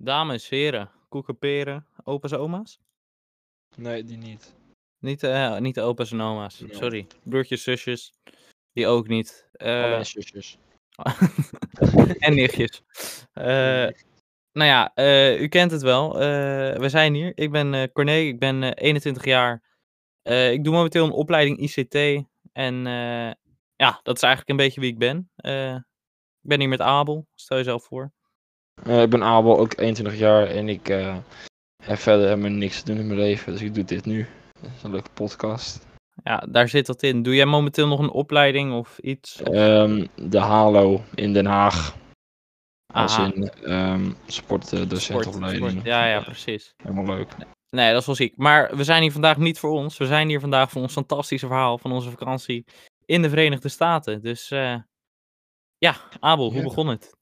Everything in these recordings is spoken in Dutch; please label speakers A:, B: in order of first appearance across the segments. A: Dames, heren, koeken, peren, opa's, oma's?
B: Nee, die niet.
A: Niet, eh, niet de opa's en oma's,
B: Nee.
A: sorry. Broertjes, zusjes, die ook niet. Eh,
B: Alle zusjes.
A: en nichtjes. Eh, nou ja, eh, u kent het wel. Eh, we zijn hier. Ik ben eh Corné, ik ben eh, 21 jaar. Eh, ik doe momenteel een opleiding ICT. En eh, ja, dat is eigenlijk een beetje wie ik ben. Eh, ik ben hier met Abel, stel jezelf voor.
B: Eh, ik ben Abel, ook 21 jaar en ik eh, heb verder helemaal niks te doen in mijn leven, dus ik doe dit nu. Dat is een leuke podcast.
A: Ja, daar zit dat in. Doe jij momenteel nog een opleiding of iets? Of-
B: Ehm, de Halo in Den Haag. Als
A: Aha,
B: in ehm sportdocentopleiding.
A: sport. Ja, ja, precies.
B: Helemaal leuk.
A: Nee, dat is wel ziek. Maar we zijn hier vandaag niet voor ons. We zijn hier vandaag voor ons fantastische verhaal van onze vakantie in de Verenigde Staten. Dus eh, ja, Abel, hoe
B: Ja.
A: begon het?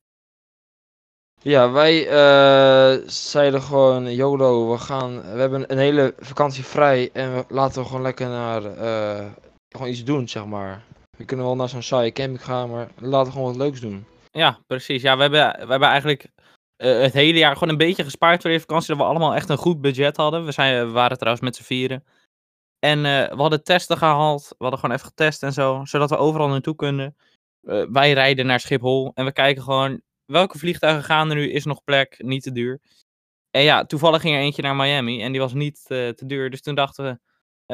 B: Ja, wij eh, zeiden gewoon, YOLO, we gaan, we hebben een hele vakantie vrij en we laten we gewoon lekker naar, eh, gewoon iets doen, zeg maar. We kunnen wel naar zo'n saaie camping gaan, maar laten we gewoon wat leuks doen.
A: Ja, precies. Ja, we hebben, we hebben eigenlijk eh, het hele jaar gewoon een beetje gespaard voor deze vakantie. Dat we allemaal echt een goed budget hadden. We, zijn, we waren trouwens met z'n vieren. En eh, we hadden testen gehaald. We hadden gewoon even getest en zo. Zodat we overal naartoe kunnen. Eh, wij rijden naar Schiphol. En we kijken gewoon welke vliegtuigen gaan er nu. Is er nog plek? Niet te duur. En ja, toevallig ging er eentje naar Miami. En die was niet eh, te duur. Dus toen dachten we,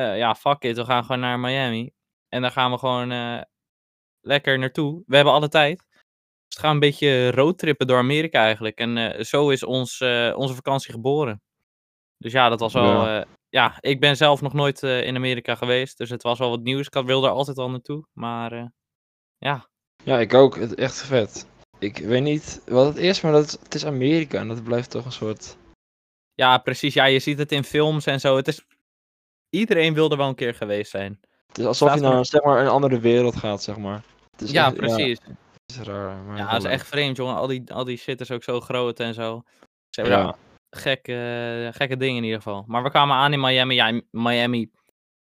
A: eh, ja, fuck it. We gaan gewoon naar Miami. En daar gaan we gewoon eh, lekker naartoe. We hebben alle tijd. Dus we gaan een beetje roadtrippen door Amerika eigenlijk. En eh, zo is ons, eh, onze vakantie geboren. Dus ja, dat was wel...
B: Ja.
A: eh, ja, ik ben zelf nog nooit eh, in Amerika geweest. Dus het was wel wat nieuws. Ik had- wilde er altijd al naartoe. Maar eh,
B: Ja, ik ook, het echt vet. Ik weet niet wat het is, maar dat is- het is Amerika en dat blijft toch een soort...
A: ja, precies. Ja, je ziet het in films en zo. Het is... Iedereen wil er wel een keer geweest zijn.
B: Het is alsof je
A: Staat er-
B: naar zeg maar, een andere wereld gaat, zeg maar. Het is
A: ja,
B: echt-
A: precies. Ja,
B: het is raar, maar
A: dat is
B: wel
A: echt vreemd, jongen. Al die, al die shit is ook zo groot en zo. Ze hebben
B: leuk.
A: daar
B: Ja,
A: gekke, gekke dingen in ieder geval. Maar we kwamen aan in Miami. Ja, in Miami.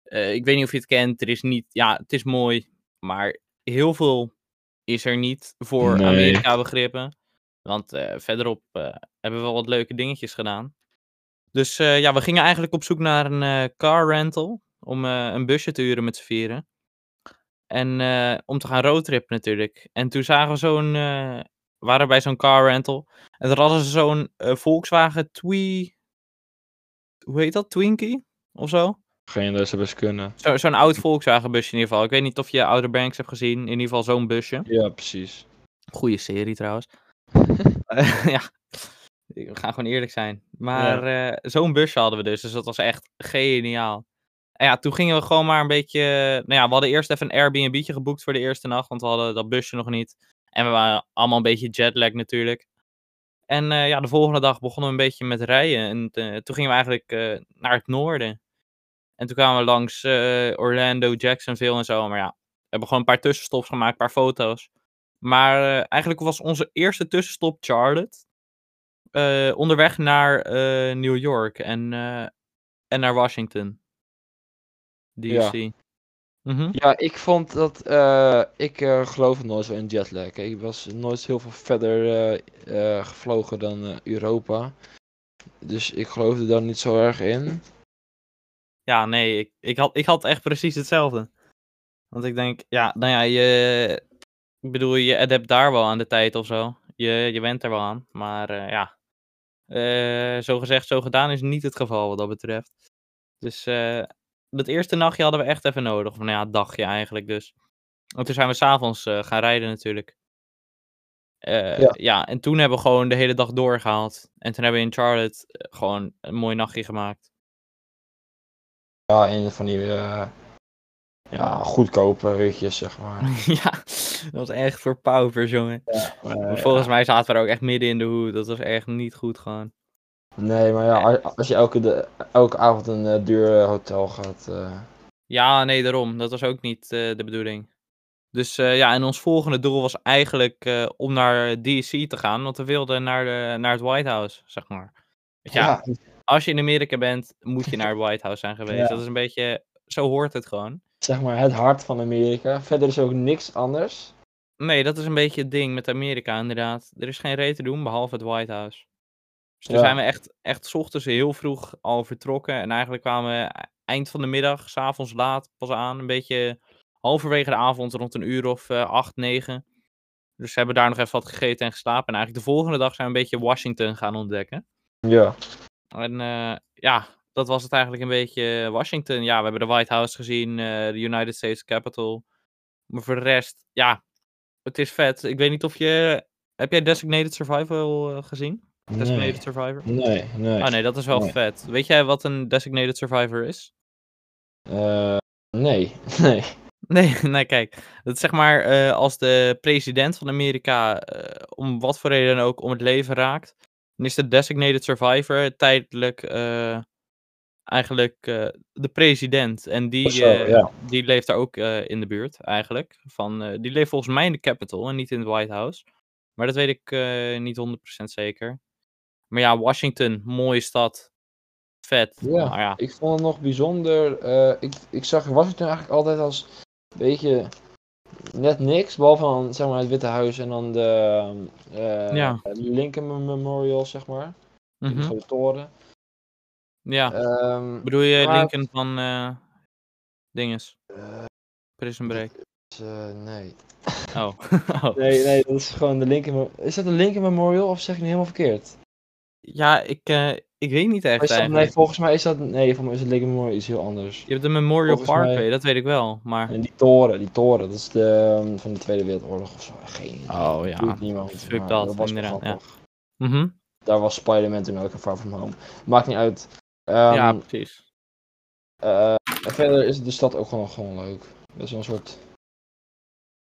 A: eh, ik weet niet of je het kent. Er is niet. Ja, het is mooi. Maar heel veel is er niet voor
B: Nee.
A: Amerika begrippen. Want eh, verderop eh, hebben we wel wat leuke dingetjes gedaan. Dus eh, ja, we gingen eigenlijk op zoek naar een eh, car rental. Om eh, een busje te huren met z'n vieren. En eh, om te gaan roadtrippen natuurlijk. En toen zagen we zo'n. eh, we waren bij zo'n car rental. En toen hadden ze zo'n eh, Volkswagen Twee. Hoe heet dat? Twinkie? Of zo?
B: geen dat ze best kunnen.
A: zo zo'n oud Volkswagen busje in ieder geval. Ik weet niet of je Outer Banks hebt gezien. In ieder geval zo'n busje.
B: Ja, precies.
A: Goeie serie trouwens. ja. We gaan gewoon eerlijk zijn. Maar eh, zo'n busje hadden we dus. Dus dat was echt geniaal. En ja, toen gingen we gewoon maar een beetje. Nou ja, we hadden eerst even een Airbnb'tje geboekt voor de eerste nacht. Want we hadden dat busje nog niet. En we waren allemaal een beetje jetlag natuurlijk. En eh, ja, de volgende dag begonnen we een beetje met rijden. En eh, toen gingen we eigenlijk eh, naar het noorden. En toen kwamen we langs eh, Orlando, Jacksonville en zo. Maar ja, we hebben gewoon een paar tussenstops gemaakt, een paar foto's. Maar eh, eigenlijk was onze eerste tussenstop Charlotte. Eh, onderweg naar eh, New York en, eh, en naar Washington. DC. Mhm.
B: Ja, ik vond dat. eh, ik eh, geloof nooit zo in jetlag. hè. Ik was nooit heel veel verder eh, eh, gevlogen dan eh, Europa. Dus ik geloofde daar niet zo erg in.
A: Ja, nee, ik, ik, had, ik had echt precies hetzelfde. Want ik denk, ja, nou ja, je. Ik bedoel, je adapt daar wel aan de tijd of zo. Je, je went er wel aan. Maar eh, ja. Eh, zo gezegd, zo gedaan is niet het geval wat dat betreft. Dus eh, dat eerste nachtje hadden we echt even nodig. Of nou ja, dagje eigenlijk dus. En toen zijn we s'avonds eh gaan rijden natuurlijk. Eh, ja.
B: Ja.
A: en toen hebben we gewoon de hele dag doorgehaald. En toen hebben we in Charlotte eh, gewoon een mooi nachtje gemaakt.
B: Ja, in van die. eh, ja, goedkope ritjes, zeg maar.
A: ja, dat was echt voor paupers, jongen. Maar
B: Eh,
A: volgens mij zaten we er ook echt midden in de hoed. Dat was echt niet goed gewoon.
B: nee, maar ja, als, als je elke, de, elke avond een eh, duur eh, hotel gaat. eh,
A: Ja, nee, daarom. Dat was ook niet eh, de bedoeling. Dus eh, ja, en ons volgende doel was eigenlijk eh, om naar DC te gaan. Want we wilden naar, de, naar het White House, zeg maar. Want ja,
B: ja,
A: als je in Amerika bent, moet je naar het White House zijn geweest.
B: Ja.
A: Dat is een beetje... Zo hoort het gewoon.
B: zeg maar het hart van Amerika. Verder is ook niks anders.
A: Nee, dat is een beetje het ding met Amerika, inderdaad. Er is geen reet te doen, behalve het White House. Dus toen
B: Ja.
A: zijn we echt, echt 's ochtends heel vroeg al vertrokken. En eigenlijk kwamen we e-, eind van de middag, s'avonds laat pas aan. Een beetje halverwege de avond, rond een uur of eh, acht, negen. Dus we hebben daar nog even wat gegeten en geslapen. En eigenlijk de volgende dag zijn we een beetje Washington gaan ontdekken.
B: Ja.
A: En eh, ja, dat was het eigenlijk een beetje eh, Washington. Ja, we hebben de White House gezien, eh, de United States Capitol. Maar voor de rest, ja, het is vet. Ik weet niet of je... Heb jij Designated Survival eh, gezien? Designated
B: Nee,
A: Survivor?
B: nee. nee.
A: Ah nee, dat is wel
B: Nee.
A: vet. Weet jij wat een Designated Survivor is?
B: Eh, nee. Nee.
A: Nee, nee, kijk. Dat is zeg maar eh, als de president van Amerika eh, om wat voor reden dan ook om het leven raakt, dan is de designated survivor tijdelijk eh, eigenlijk eh, de president. En die,
B: Of zo,
A: eh,
B: ja.
A: die leeft daar ook eh, in de buurt eigenlijk. Van, eh, die leeft volgens mij in de Capitol en niet in het White House. Maar dat weet ik eh, niet 100% zeker. Maar ja, Washington, mooie stad. Vet.
B: Ja,
A: Maar ja,
B: Ik vond het nog bijzonder. eh, ik, ik zag Washington eigenlijk altijd als een beetje net niks. Behalve dan zeg maar, het Witte Huis en dan de eh,
A: Ja.
B: Lincoln Memorial, zeg maar. De
A: mhm,
B: grote toren.
A: ja.
B: Ehm,
A: Bedoel je
B: Maar-
A: Lincoln van eh dinges?
B: eh,
A: Prison Break.
B: dus, eh, nee.
A: Oh. Oh.
B: nee. Nee, dat is gewoon de Lincoln Mem- Is dat de Lincoln Memorial of zeg ik nu helemaal verkeerd?
A: Ja, ik, eh, ik weet niet echt
B: Is dat, nee,
A: eigenlijk.
B: volgens mij is dat. Nee, volgens mij is het Lincoln Memorial iets heel anders.
A: Je hebt de Memorial
B: volgens mij-
A: Parkway, dat weet ik wel. Maar...
B: En die toren, die toren, dat is de, ehm, van de Tweede Wereldoorlog of zo. Geen idee.
A: Oh ja.
B: Doet niemand,
A: fuck
B: maar
A: dat,
B: was
A: inderdaad, ja.
B: grappig.
A: Mhm.
B: Daar was Spider-Man toen ook een Far From Home. Maakt niet uit. Ehm,
A: ja, precies.
B: eh, en verder is de stad ook gewoon, gewoon leuk. Dat is wel een soort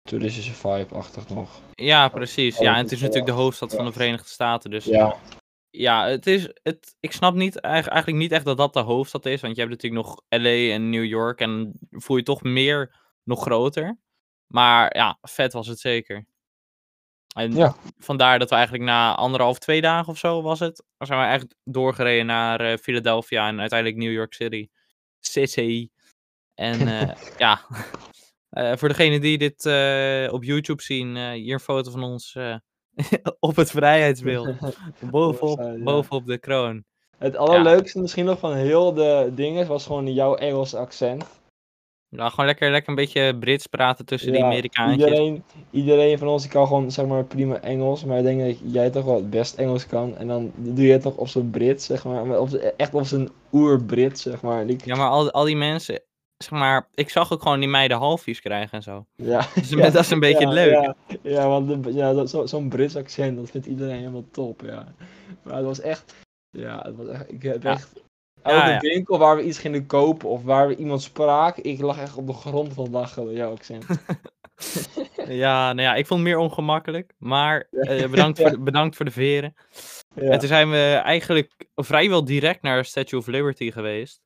B: toeristische vibe-achtig nog.
A: Ja, precies. Ja,
B: alles
A: en het
B: is
A: is natuurlijk de hoofdstad van
B: ja.
A: de Verenigde Staten. Dus
B: Ja,
A: ja, het is. Het, ik snap niet, eigen- eigenlijk niet echt dat dat de hoofdstad is. Want je hebt natuurlijk nog LA en New York. En voel je toch meer nog groter. Maar ja, vet was het zeker. En
B: Ja.
A: vandaar dat we eigenlijk na anderhalf, twee dagen of zo was het. Zijn we eigenlijk doorgereden naar eh, Philadelphia en uiteindelijk New York City. City. En eh, ja, Eh, voor degenen die dit eh, op YouTube zien, eh, hier een foto van ons eh, op het vrijheidsbeeld. Bovenop,
B: Bovenaan, ja.
A: bovenop de kroon.
B: het allerleukste misschien nog van heel de dingen was gewoon jouw Engelse accent.
A: Nou, gewoon lekker, lekker een beetje Brits praten tussen die
B: Ja,
A: Amerikaantjes.
B: Iedereen, iedereen van ons kan gewoon zeg maar prima Engels, maar ik denk dat jij toch wel het best Engels kan. En dan doe je het nog op zijn Brits, zeg maar. maar op z'n- echt op zijn oer-Brits, zeg maar. En ik-
A: Ja, maar al, al die mensen, zeg maar, ik zag ook gewoon die meiden halfjes krijgen en zo.
B: ja.
A: Dus dat is een beetje
B: ja,
A: leuk.
B: Ja, ja want de- ja, dat- zo- zo'n Brits accent, dat vindt iedereen helemaal top, ja. Maar het was echt, ja, het was echt, ik heb
A: Ja.
B: echt, elke
A: ja.
B: winkel waar we iets gingen kopen of waar we iemand spraak, ik lag echt op de grond van lachen door jouw accent.
A: Ja, nou ja, ik vond het meer ongemakkelijk. Maar eh, bedankt, voor, de- bedankt voor de veren.
B: Ja,
A: En toen zijn we eigenlijk vrijwel direct naar Statue of Liberty geweest.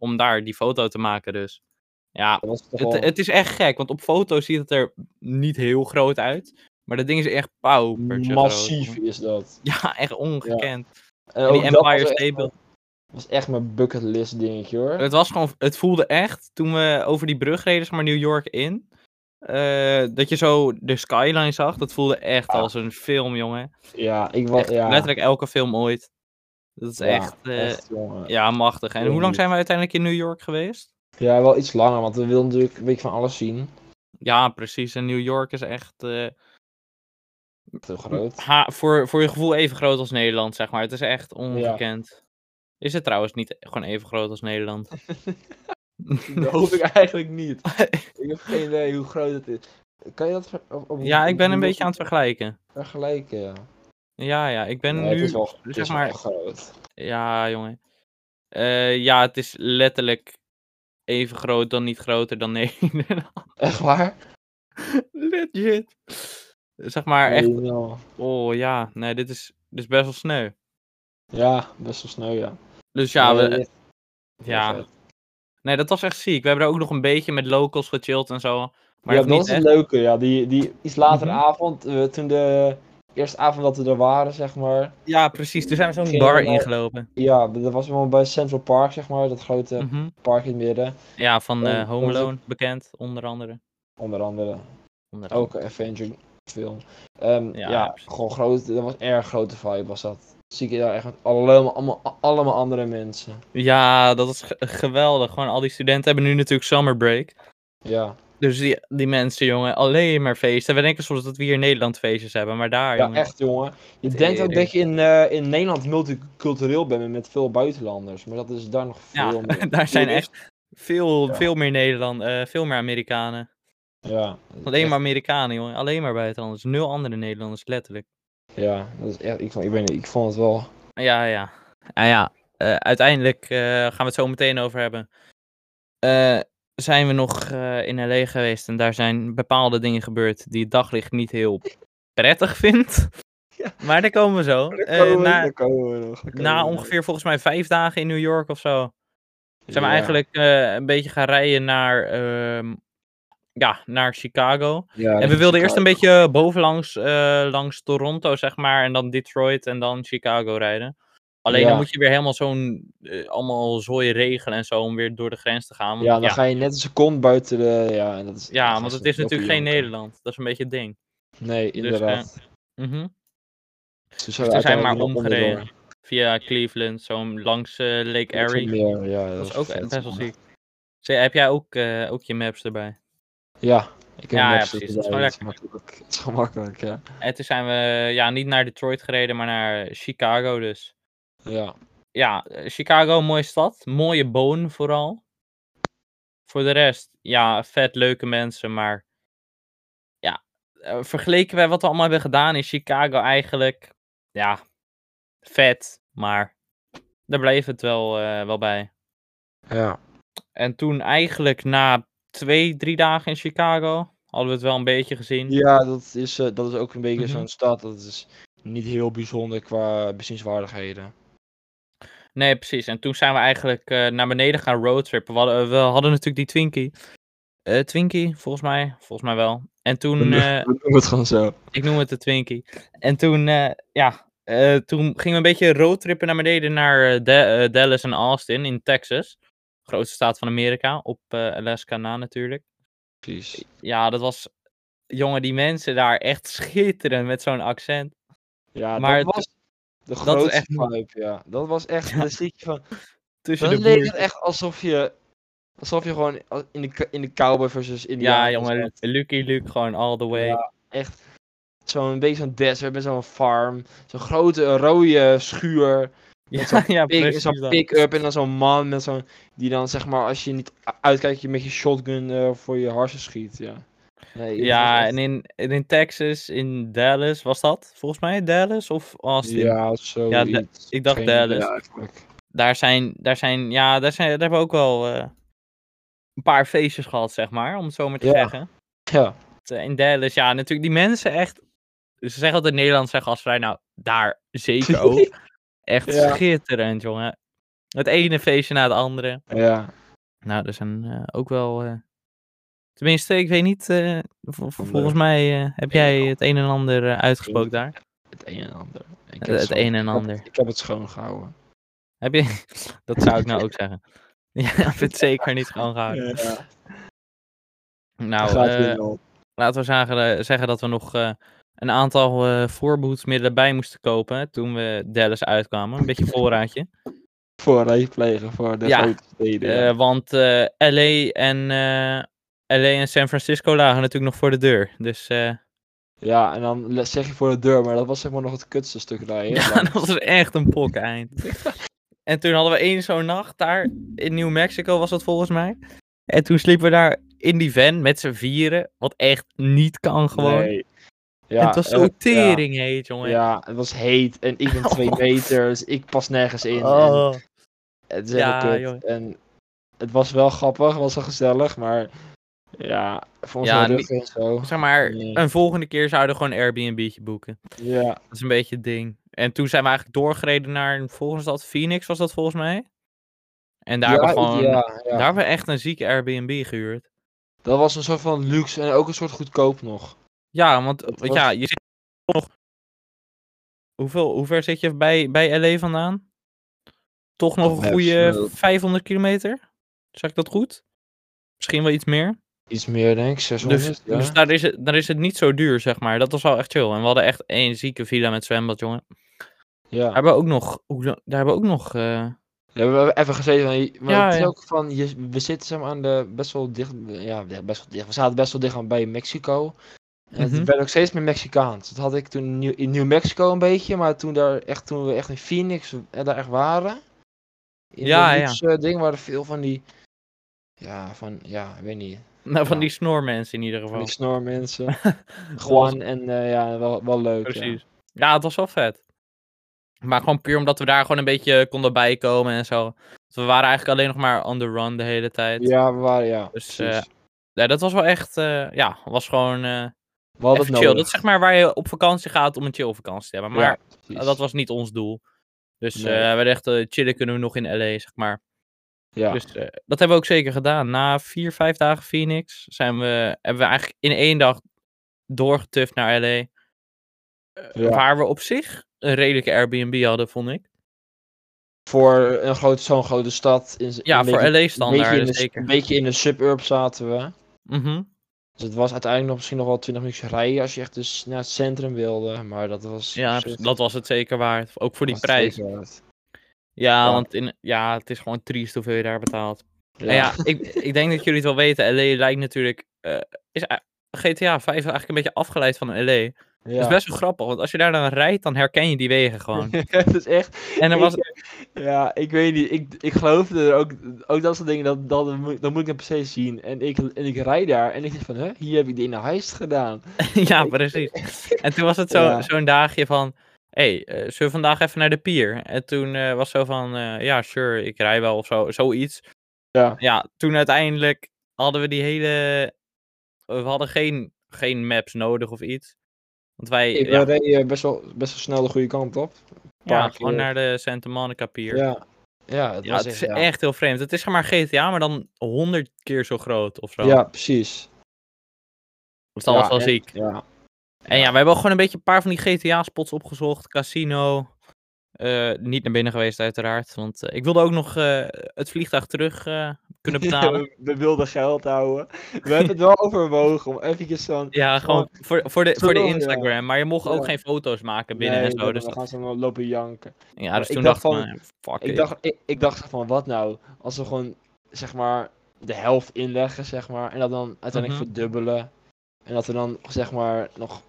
A: Om daar die foto te maken dus. Ja,
B: dat was toch wel
A: het, het is echt gek. Want op foto ziet het er niet heel groot uit. Maar dat ding is echt pauper.
B: massief is dat.
A: Ja, echt ongekend.
B: En
A: En die
B: ook dat was
A: Empire
B: echt-
A: State Building.
B: was echt mijn bucketlist dingetje hoor.
A: Het was gewoon, het voelde echt, toen we over die brug reden, zeg maar New York in, eh, dat je zo de skyline zag, dat voelde echt
B: Ja.
A: als een film, jongen.
B: Ja, ik was,
A: Echt,
B: ja.
A: Letterlijk elke film ooit. Dat is
B: Ja,
A: echt, eh,
B: echt, jongen.
A: ja, machtig. En
B: heel
A: hoe lang
B: goed.
A: zijn we uiteindelijk in New York geweest?
B: Ja, wel iets langer, want we wilden natuurlijk een beetje van alles zien.
A: Ja, precies. En New York is echt, eh,
B: Te groot.
A: ha- voor, voor je gevoel even groot als Nederland, zeg maar. Het is echt ongekend. Is het trouwens niet gewoon even groot als Nederland?
B: Dat hoop ik eigenlijk niet. Ik heb geen idee hoe groot het is. Kan je dat ver- op, op-
A: ja, ik ben een
B: hoe-
A: beetje aan het vergelijken.
B: vergelijken? Ja.
A: Ja, ja, ik ben
B: Nee,
A: nu... dus
B: het is wel, het
A: zeg
B: is wel
A: maar-
B: groot.
A: Ja, jongen. Eh, ja, het is letterlijk even groot dan niet groter dan Nederland.
B: Echt waar?
A: Legit. Zeg maar echt,
B: Nee, nou.
A: oh ja, nee, dit is, dit is best wel sneu.
B: Ja, best wel sneu, ja.
A: Dus ja,
B: Nee,
A: we,
B: echt heel
A: ja,
B: vet.
A: nee, dat was echt ziek. We hebben er ook nog een beetje met locals gechilled en zo. Maar
B: ja,
A: dat
B: dat
A: niet
B: is het
A: echt.
B: leuke, ja. Die, die iets later
A: Mhm.
B: avond, eh, toen de eerste avond dat we er waren, zeg maar.
A: Ja, precies. Toen zijn we zo'n
B: Geen
A: bar
B: idee.
A: ingelopen.
B: Ja, dat was wel bij Central Park, zeg maar. Dat grote
A: Mhm.
B: park in het midden.
A: Ja, van
B: Oh,
A: eh Home
B: onze-
A: Alone, bekend, onder andere.
B: Onder andere.
A: Onder andere.
B: Ook een Avenger film. Ehm,
A: Ja,
B: ja,
A: precies.
B: gewoon groot. Dat was erg grote vibe was dat. zie ik daar echt met allemaal, allemaal, allemaal andere mensen.
A: Ja, dat is ge- geweldig. Gewoon al die studenten hebben nu natuurlijk summer break.
B: Ja.
A: Dus die, die mensen, jongen, alleen maar feesten. We denken soms dat we hier in Nederland feestjes hebben, maar daar,
B: Ja,
A: jongen.
B: echt jongen. Je denkt ook
A: Tering.
B: dat je in, eh, in Nederland multicultureel bent met veel buitenlanders, maar dat is daar nog
A: Ja,
B: veel meer.
A: daar zijn
B: Toeristen.
A: echt veel,
B: Ja.
A: veel meer Nederland, eh, veel meer Amerikanen.
B: Ja,
A: Alleen maar Amerikanen, jongen. Alleen maar buitenlanders. Nul andere Nederlanders, letterlijk.
B: ja, dat is echt, ik, vond- ik, weet niet, ik vond het wel.
A: Ja, ja. Nou ja, eh, uiteindelijk eh, gaan we het zo meteen over hebben. Eh, zijn we nog eh, in LA geweest en daar zijn bepaalde dingen gebeurd die het daglicht niet heel prettig vindt.
B: Ja.
A: Maar daar komen we zo. Eh, na, na
B: ongeveer
A: ongeveer volgens mij vijf dagen in New York of zo. Zijn we eigenlijk eh, een beetje gaan rijden naar, ehm, ja, naar Chicago. En we wilden eerst een beetje bovenlangs eh, langs Toronto, zeg maar, en dan Detroit en dan Chicago rijden. Alleen
B: Ja.
A: dan moet je weer helemaal zo'n, eh, allemaal zooi regelen en zo om weer door de grens te gaan. want
B: Ja, dan
A: ja,
B: ga je net een seconde buiten de. Ja, en dat is,
A: ja,
B: dat
A: want het
B: echt
A: is natuurlijk geen
B: janken.
A: Nederland. Dus, Dat is een beetje het ding.
B: Nee, inderdaad.
A: Mhm.
B: Ze
A: Dus we zijn maar
B: uiteindelijk nog onderdoor.
A: omgereden via Cleveland, zo langs eh, Lake
B: Dat is
A: Erie.
B: meer, Ja,
A: Dat is ook
B: vet,
A: best wel
B: man.
A: ziek. Zee, heb jij ook, eh, ook je maps erbij?
B: Ja, ik heb
A: Ja,
B: hem
A: ja,
B: nog steeds
A: precies, het is
B: bij,
A: gewoon
B: Het is gemakkelijk. Het is gemakkelijk, ja.
A: En toen zijn we ja, niet naar Detroit gereden, maar naar Chicago dus.
B: Ja,
A: ja, eh, Chicago, mooie stad. Mooie boon vooral. Voor de rest, ja, vet leuke mensen, maar ja, eh, vergeleken bij wat we allemaal hebben gedaan in Chicago eigenlijk, ja, vet, maar daar bleef het wel, eh, wel bij.
B: ja.
A: En toen eigenlijk na twee, drie dagen in Chicago, hadden we het wel een beetje gezien.
B: ja dat, is, eh, dat is ook een beetje
A: Mhm.
B: zo'n stad. Dat is niet heel bijzonder qua bezienswaardigheden.
A: Nee, precies. En toen zijn we eigenlijk eh, naar beneden gaan roadtrippen. We hadden, eh, we hadden natuurlijk die Twinkie. Eh, Twinkie, volgens mij. Volgens mij wel. En toen, eh,
B: We doen het gewoon zo.
A: ik noem het de Twinkie. En toen, eh, ja, eh, toen gingen we een beetje roadtrippen naar beneden naar eh, Da- eh, Dallas en Austin in Texas. Grootste staat van Amerika, op eh, Alaska na natuurlijk.
B: Precies.
A: Ja, dat was, jongen, die mensen daar echt schitterend met zo'n accent.
B: Ja,
A: Maar het-
B: dat was de
A: is
B: grootste
A: echt mooi.
B: vibe, ja. Dat was echt,
A: Ja.
B: dan zie je van,
A: Tussen
B: dan
A: de
B: leek het
A: boeren.
B: echt alsof je, alsof je gewoon al- in de, k- in de cowboy versus Indiaan.
A: Ja,
B: was.
A: jongen, Lucky Luke gewoon all the way.
B: Ja, echt zo'n beetje zo'n desert met zo'n farm, zo'n grote rode schuur,
A: Ja,
B: met zo'n
A: ja,
B: pik- en
A: precies
B: zo'n
A: dat.
B: pick-up en dan zo'n man met zo'n, die dan zeg maar als je niet a- uitkijkt je met je shotgun eh, voor je harsen schiet, ja. Nee, het was
A: Ja,
B: echt-
A: en in, en in Texas, in Dallas, was dat volgens mij Dallas of Austin?
B: ja, zo.
A: ik dacht Dallas. Daar zijn, daar zijn, ja, daar, zijn, daar hebben we ook wel eh, een paar feestjes gehad, zeg maar, om het zo maar te
B: Ja.
A: zeggen.
B: Ja,
A: Het, eh, In Dallas, ja, natuurlijk die mensen echt, ze zeggen altijd Nederland zijn gastvrij, nou, daar zeker ook. echt
B: Ja.
A: schitterend, jongen. Het ene feestje na het andere.
B: ja.
A: Nou, er zijn eh, ook wel, eh, tenminste, ik weet niet, eh, vol-
B: Andere-
A: volgens mij eh, heb
B: een en
A: jij
B: ander.
A: het een en ander eh, uitgesproken daar.
B: Het een en ander. Ik heb
A: Het
B: schoon-
A: een en
B: ik heb-
A: ander.
B: Ik heb het schoongehouden.
A: Heb je? Dat zou ik nou ook zeggen. Ja, ik heb het zeker niet schoongehouden.
B: Ja,
A: Nou,
B: gaat
A: eh,
B: weer wel.
A: laten we zagen, eh, zeggen dat we nog eh, een aantal eh voorbehoedsmiddelen bij moesten kopen toen we Dallas uitkwamen. Een beetje voorraadje.
B: Voorraad plegen voor de
A: Ja,
B: grote steden. ja.
A: Eh, want eh, LA, en, eh, LA en San Francisco lagen natuurlijk nog voor de deur. Dus eh,
B: Ja, en dan le- zeg je voor de deur, maar dat was zeg maar nog het kutste stuk rijden.
A: ja, dat was echt een eind. En toen hadden we één zo'n nacht daar in New Mexico was dat volgens mij. En toen sliepen we daar in die van met z'n vieren. Wat echt niet kan gewoon.
B: Nee. Ja,
A: het was
B: eh,
A: zo tering heet,
B: Ja,
A: jongen.
B: ja, het was heet en ik ben twee meter, dus ik pas nergens in. en
A: Oh.
B: het is echt
A: Ja,
B: kut.
A: joh.
B: En het was wel grappig, het was wel gezellig, maar ja, voor ons
A: Ja,
B: ja,
A: niet-
B: en zo.
A: Zeg maar,
B: Nee.
A: een volgende keer zouden we gewoon Airbnb'tje boeken.
B: Ja,
A: Dat is een beetje het ding. En toen zijn we eigenlijk doorgereden naar een volgende stad. Phoenix was dat volgens mij. En daar,
B: ja,
A: hebben, we gewoon,
B: ja, ja.
A: daar hebben we echt een zieke Airbnb gehuurd.
B: Dat was een soort van luxe en ook een soort goedkoop nog.
A: Ja, want eh,
B: Dat
A: want ja, je zit nog... Hoeveel, hoe ver zit je bij, bij LA vandaan? Toch nog een
B: Max,
A: goede
B: eh,
A: 500 kilometer? Zeg ik dat goed? Misschien wel iets meer?
B: Iets meer, denk ik, 600.
A: Dus,
B: ja.
A: dus daar, is het, daar is het niet zo duur, zeg maar. Dat was wel echt chill. En we hadden echt één zieke villa met zwembad, jongen.
B: Ja.
A: Daar hebben we ook nog... hoe dan- Daar hebben we ook nog... eh,
B: Ja, we hebben even gezeten. Maar, je- maar
A: Ja,
B: het is
A: ja.
B: ook van, je, we zitten zeg maar, aan de best wel dicht, ja, ja, best wel dicht. We zaten best wel dicht aan bij Mexico. En
A: Mhm.
B: het werd ook steeds meer Mexicaans. Dat had ik toen in New- in New Mexico een beetje, maar toen, daar echt, toen we echt in Phoenix eh, daar echt waren. In
A: Ja,
B: dat
A: ja.
B: luxe eh, ding waren veel van die, ja, van, ja, ik weet niet,
A: nou, van
B: Ja.
A: die snormensen in ieder
B: van
A: geval.
B: die snormensen.
A: Dat was-
B: Gewoon en eh, ja, wel, wel leuk. ja.
A: Precies. Ja. het was wel vet. Maar gewoon puur omdat we daar gewoon een beetje konden bijkomen en zo. Dus we waren eigenlijk alleen nog maar on the run de hele tijd. Ja.
B: Ja, we waren, ja.
A: Dus, eh,
B: precies.
A: dat was wel echt, eh, ja, was gewoon eh,
B: we hadden
A: even chill.
B: het nodig.
A: Dat is zeg maar waar je op vakantie gaat om een chill vakantie te hebben. Maar
B: Ja, precies.
A: eh, dat was niet ons doel. Dus eh,
B: Nee.
A: we dachten, chillen kunnen we nog in LA, zeg maar.
B: ja.
A: Dus eh, dat hebben we ook zeker gedaan. Na vier, vijf dagen Phoenix zijn we, hebben we eigenlijk in één dag doorgetuft naar LA. Eh,
B: Ja.
A: Waar we op zich een redelijke Airbnb hadden, vond ik.
B: voor een grote, zo'n grote stad. In, z-
A: Ja,
B: een
A: voor
B: beetje-
A: LA-standaard
B: beetje in de, s-
A: zeker.
B: Een beetje in de suburb zaten we.
A: Mhm.
B: Dus het was uiteindelijk nog misschien nog wel 20 minuten rijden als je echt dus naar het centrum wilde. Maar dat was.
A: Ja,
B: precies.
A: dat was het zeker waard. Ook voor die prijs. Ja,
B: Ja.
A: want in, ja, het is gewoon triest hoeveel je daar betaalt. En Ja, ik, ik denk dat jullie het wel weten. LA lijkt natuurlijk. eh, is, eh, GTA 5 eigenlijk een beetje afgeleid van LA. Dat is best wel grappig, want als je daar dan rijdt, dan herken je die wegen gewoon.
B: dat is echt.
A: En er
B: ik,
A: was.
B: Ja, ik weet niet. Ik, ik geloofde er ook. Ook dat soort dingen. Dat, dat, moet- dat moet ik dan precies zien. En ik, en ik rijd daar. En ik denk van, hè, hier heb ik de in de heist gedaan.
A: ja, precies. En toen was het zo,
B: Ja.
A: zo'n dagje van. Hé, hey, eh, zullen we vandaag even naar de pier? En toen eh, was zo van. eh, ja, sure, ik rij wel of zo. Zoiets.
B: Ja.
A: ja, toen uiteindelijk hadden we die hele. We hadden geen, geen maps nodig of iets. Want wij
B: Ik
A: ja,
B: reed eh, best wel, best wel snel de goede kant op.
A: ja,
B: paar
A: gewoon
B: keer.
A: naar de Santa Monica Pier. Ja,
B: eh. Ja. Ja, het was
A: het is
B: echt, ja.
A: echt heel vreemd. Het is zeg maar GTA, maar dan honderd keer zo groot of zo.
B: Ja, precies.
A: Dus dat was
B: ja,
A: wel
B: en-
A: ziek.
B: Ja.
A: En ja, we hebben ook gewoon een beetje een paar van die GTA-spots opgezocht. Casino. Eh, niet naar binnen geweest, uiteraard. Want eh, ik wilde ook nog eh, het vliegtuig terug eh, kunnen betalen.
B: We, we wilden geld houden. We hebben het wel overwogen om eventjes zo'n...
A: Ja, gewoon voor, voor, de, voor de
B: Zo, ja.
A: Instagram. Maar je mocht ook
B: Ja.
A: geen foto's maken binnen
B: Nee,
A: en zo.
B: dan-
A: Dus
B: dan
A: dat-
B: gaan ze dan lopen janken.
A: ja, dus
B: ik
A: toen dacht
B: dacht
A: ik,
B: van-
A: nou ja, fuck
B: Ik
A: it.
B: dacht, ik, ik dacht van, wat nou? Als we gewoon, zeg maar, de helft inleggen, zeg maar. En dat dan uiteindelijk
A: Mhm.
B: verdubbelen. En dat we dan, zeg maar, nog...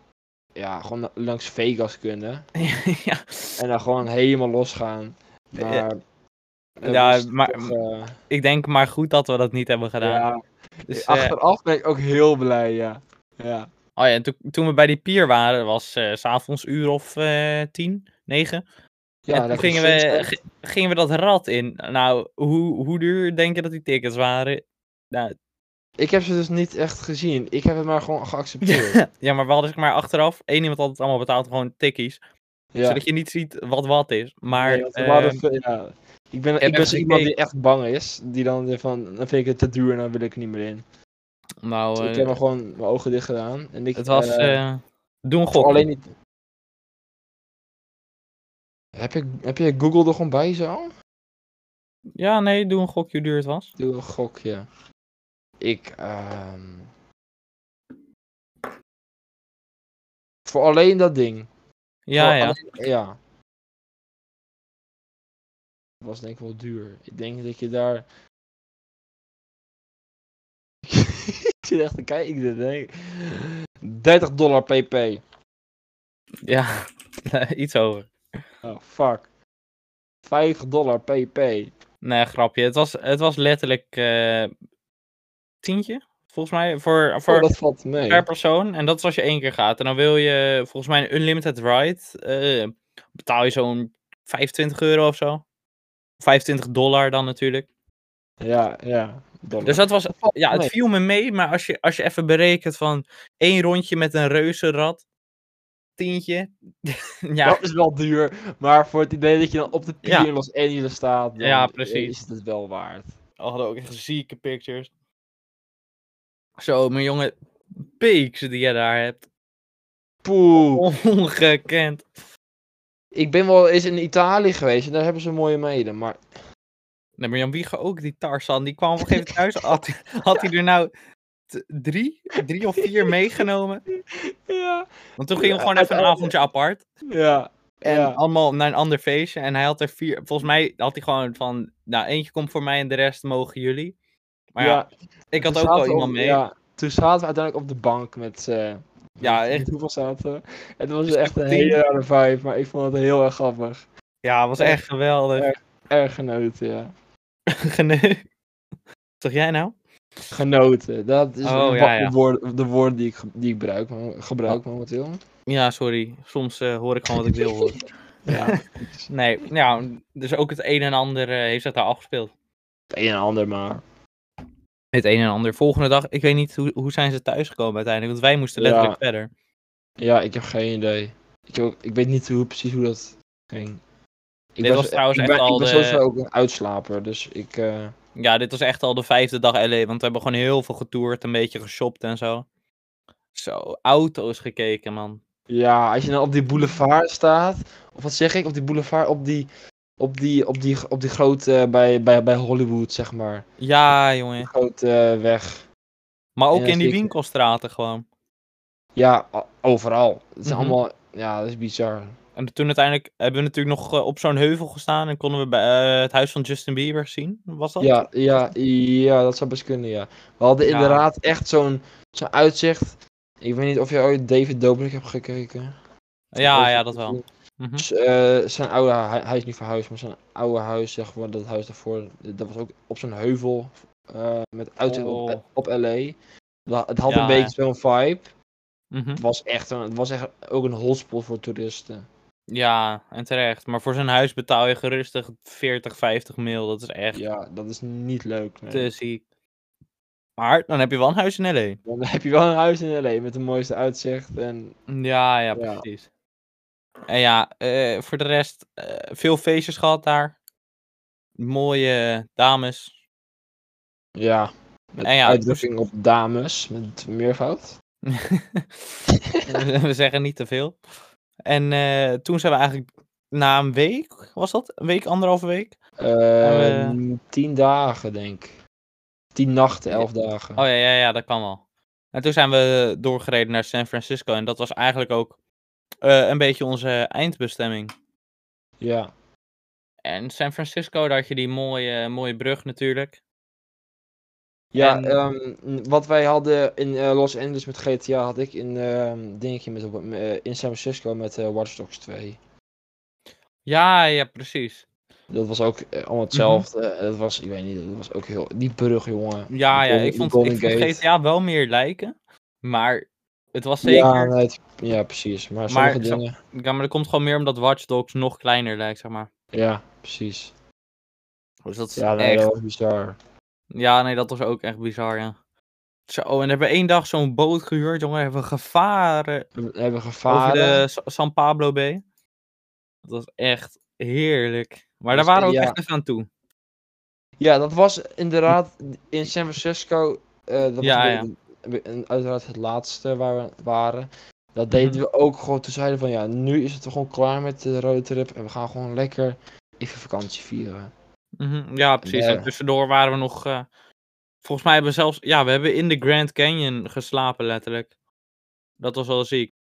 B: Ja, gewoon na- langs Vegas kunnen.
A: ja,
B: En dan gewoon helemaal losgaan. Maar... we
A: Eh, Ja,
B: moesten
A: maar-
B: toch, eh,
A: ik denk maar goed dat we dat niet hebben gedaan.
B: ja.
A: dus, eh,
B: Achteraf ben ik ook heel blij, ja. Ja.
A: oh ja, en toen, toen we bij die pier waren, was eh, s s'avonds uur of eh, tien, negen.
B: ja
A: en toen
B: lekker
A: gingen we,
B: sunset.
A: g- gingen we dat rad in. Nou, hoe, hoe duur denk je dat die tickets waren? Nou,
B: Ik heb ze dus niet echt gezien. Ik heb het maar gewoon geaccepteerd.
A: ja, maar we hadden zeg maar achteraf, één iemand had het allemaal betaald, gewoon tikkies.
B: Ja.
A: Zodat je niet ziet wat wat is. Maar,
B: Nee, want we
A: eh,
B: waren veel- ja. Ik ben, ik
A: even
B: ben zo iemand die
A: gekeken.
B: echt bang is. Die dan weer van, dan vind ik het te duur en dan wil ik er niet meer in.
A: nou,
B: Dus
A: eh,
B: ik heb hem gewoon mijn ogen dicht gedaan. En ik,
A: het was...
B: eh,
A: eh, doe een gok.
B: alleen niet... Heb je, heb je Google er gewoon bij zo?
A: Ja, nee, doe een gokje hoe duur het was.
B: Doe een gokje. Ik, ehm, Voor alleen dat ding.
A: Ja,
B: Voor
A: ja.
B: alleen- ja. Dat was denk ik wel duur. Ik denk dat je daar. ik zit echt te kijken. ik denk- 30 dollar pp.
A: Ja, iets over.
B: Oh fuck. 50 dollar pp.
A: Nee, grapje. Het was, het was letterlijk eh, tientje, volgens mij, voor, voor
B: Oh, dat valt mee.
A: per persoon. En dat is als je één keer gaat. En dan wil je volgens mij een unlimited ride. eh, betaal je zo'n 25 euro of zo. 25 dollar dan natuurlijk.
B: Ja, ja. Dollar.
A: Dus dat was,
B: valt
A: ja, het
B: mee.
A: viel me mee. Maar als je, als je even berekent van één rondje met een reuzenrad, tientje. ja,
B: Dat is wel duur. Maar voor het idee dat je dan op de pier
A: Ja.
B: in Los Angeles staat. dan,
A: Ja,
B: eh,
A: precies.
B: Is het het wel waard.
A: We hadden ook echt zieke pictures. Zo, mijn jongen, peaks die je daar hebt.
B: Poeh.
A: Ongekend.
B: Ik ben wel eens in Italië geweest en daar hebben ze mooie meiden. Maar
A: Nee, maar Jan Wieger ook, die Tarzan, die kwam op een gegeven moment thuis. Had, hij- had hij er nou t- drie, drie of vier meegenomen?
B: Ja,
A: Want toen gingen we
B: Ja,
A: gewoon even een
B: uiteindelijk-
A: avondje apart.
B: ja.
A: En
B: Ja.
A: allemaal naar een ander feestje. En hij had er vier. Volgens mij had hij gewoon van. Nou, eentje komt voor mij en de rest mogen jullie. Maar ja, ik had
B: toen
A: ook wel
B: zaten we op-
A: iemand mee. Ja,
B: Ja, toen zaten we uiteindelijk op de bank met... eh,
A: Ja,
B: ik weet
A: echt.
B: niet Hoeveel zaten we. Het was
A: Een
B: echt
A: stuk
B: een
A: of tien.
B: hele rare vibe, maar ik vond het heel erg grappig.
A: het was echt geweldig.
B: Ja. Erg genoten, ja.
A: Geneukt. Zeg jij nou?
B: Genoten, dat is
A: Oh,
B: wa-
A: ja, ja.
B: De, woorden, de woorden die ik, ge- die ik gebruik, mo- gebruik momenteel.
A: Ja, sorry. Soms eh, hoor ik gewoon wat ik wil horen.
B: Ja, het
A: Nee, nou, dus ook het een en ander eh, heeft zich daar afgespeeld.
B: een en ander maar.
A: Het een en ander. Volgende dag, ik weet niet hoe, hoe zijn ze thuisgekomen uiteindelijk. Want wij moesten
B: Ja.
A: letterlijk verder.
B: Ja, ik heb geen idee. Ik, heb ook- ik weet niet hoe, precies hoe dat ging. Ik
A: Dit was trouwens
B: ik
A: echt
B: ben,
A: al
B: Ik ben
A: de-
B: sowieso ook een uitslaper, dus ik... eh,
A: Ja, dit was echt al de vijfde dag LA. Want we hebben gewoon heel veel getoerd, een beetje geshopt en zo. Zo, auto's gekeken, man.
B: Ja, als je nou op die boulevard staat, of wat zeg ik, op die boulevard, op die, op die, op die, op die grote, eh, bij, bij, bij Hollywood, zeg maar.
A: Ja,
B: Die
A: jongen.
B: grote eh, weg.
A: Maar ook
B: Ja,
A: in die
B: zeker.
A: winkelstraten gewoon.
B: Ja, o- overal. Het is
A: Mhm.
B: allemaal, ja, dat is bizar.
A: En toen uiteindelijk hebben we natuurlijk nog eh, op zo'n heuvel gestaan. En konden we bij, eh, het huis van Justin Bieber zien. Was dat?
B: Ja, ja, ja, dat zou best kunnen, ja. We hadden
A: Ja.
B: inderdaad echt zo'n, zo'n uitzicht. Ik weet niet of je ooit David Dobrik hebt gekeken.
A: ja, ja, dat wel. Mhm.
B: Dus, eh, zijn oude hu- hij is niet verhuisd, maar zijn oude huis, zeg maar, dat huis daarvoor, dat was ook op zijn heuvel eh, met uitzicht
A: Oh.
B: op, op LA. Wa- Het had
A: Ja,
B: een beetje zo'n vibe.
A: Mhm.
B: Het was, echt een, het was echt ook een hotspot voor toeristen.
A: Ja, en terecht. Maar voor zo'n huis betaal je gerustig 40, 50 mil. Dat is echt
B: Ja, dat is niet leuk. nee.
A: te ziek. Maar dan heb je wel een huis in L.A.
B: Dan heb je wel een huis in LA met de mooiste uitzicht. En
A: Ja, ja,
B: Ja.
A: precies. En ja, eh, voor de rest, eh, veel feestjes gehad daar. Mooie dames.
B: ja, met
A: En ja,
B: uitdrukking op dames, met meervoud.
A: we zeggen niet te veel. En eh, toen zijn we eigenlijk na een week, was dat? Een week, anderhalve week?
B: Eh,
A: Eh,
B: Tien dagen, denk ik. Tien nachten,
A: Ja.
B: elf dagen.
A: Oh ja, ja, ja, dat kan wel. En toen zijn we doorgereden naar San Francisco. En dat was eigenlijk ook eh, een beetje onze eindbestemming.
B: Ja.
A: En San Francisco, daar had je die mooie, mooie brug natuurlijk.
B: Ja,
A: En-
B: ehm, n- wat wij hadden in eh, Los Angeles met GTA had ik in ehm dingetje met, op- m- eh, in San Francisco met eh Watch Dogs 2.
A: Ja, ja, precies.
B: Dat was ook eh,
A: Mhm.
B: allemaal hetzelfde. Eh, Dat was, ik weet niet, dat was ook heel... Die brug, jongen.
A: Ja,
B: Die
A: ja,
B: Golden-
A: ik
B: die
A: vond,
B: Golden
A: ik vond
B: Gate.
A: GTA wel meer lijken. Maar het was zeker...
B: Ja,
A: Ja,
B: nee, het- ja, precies. Maar sommige
A: zo-
B: dingen...
A: maar dat komt gewoon meer omdat Watch Dogs nog kleiner lijkt, zeg maar.
B: Ja, precies.
A: Dus dat is
B: Ja, nee,
A: echt...
B: dat was bizar.
A: Ja, nee, dat was ook echt bizar, ja. Zo, en hebben we één dag zo'n boot gehuurd, jongen. Hebben we gevaren
B: We hebben
A: over
B: gevaren.
A: de Sa- San Pablo Bay. Dat was echt heerlijk. Maar daar
B: Dus,
A: waren we ook
B: ja.
A: echt even aan toe.
B: Ja, dat was inderdaad in San Francisco. eh, dat
A: Ja,
B: was
A: ja.
B: een beetje- een- uiteraard het laatste waar we waren. Dat deden
A: Mhm.
B: we ook gewoon. Toen zeiden we van ja, nu is het gewoon klaar met de roadtrip. En we gaan gewoon lekker even vakantie vieren.
A: Mhm, Ja, precies.
B: Ja.
A: En tussendoor waren we nog... eh, volgens mij hebben we zelfs... Ja, we hebben in de Grand Canyon geslapen, letterlijk. Dat was wel ziek.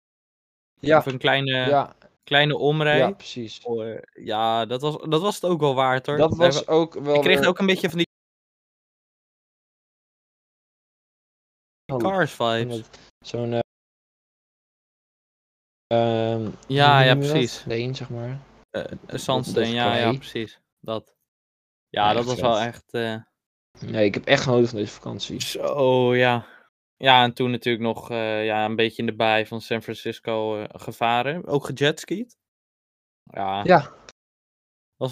B: Ja,
A: Of een kleine,
B: ja,
A: kleine omrij.
B: ja, precies.
A: Oh, eh, ja, dat was, dat was het ook wel waard, hoor.
B: Dat
A: We
B: was
A: hebben-
B: ook wel.
A: Ik kreeg
B: weer-
A: ook een beetje van die
B: Hallo.
A: Cars vibes.
B: Met Zo'n. eh, ehm, hoe
A: Ja, ja,
B: noem je dat?
A: precies.
B: Steen, zeg maar.
A: Eh, Zandsteen, ja, ja,
B: klei.
A: precies. Dat. Ja,
B: Ja,
A: dat
B: echt
A: was wel
B: vet.
A: echt... eh,
B: Nee, ik heb echt genoten van deze vakantie.
A: Zo, ja. Ja, en toen natuurlijk nog eh, ja, een beetje in de baai van San Francisco eh, gevaren. Ook gejetskied. Ja.
B: Ja.
A: Dat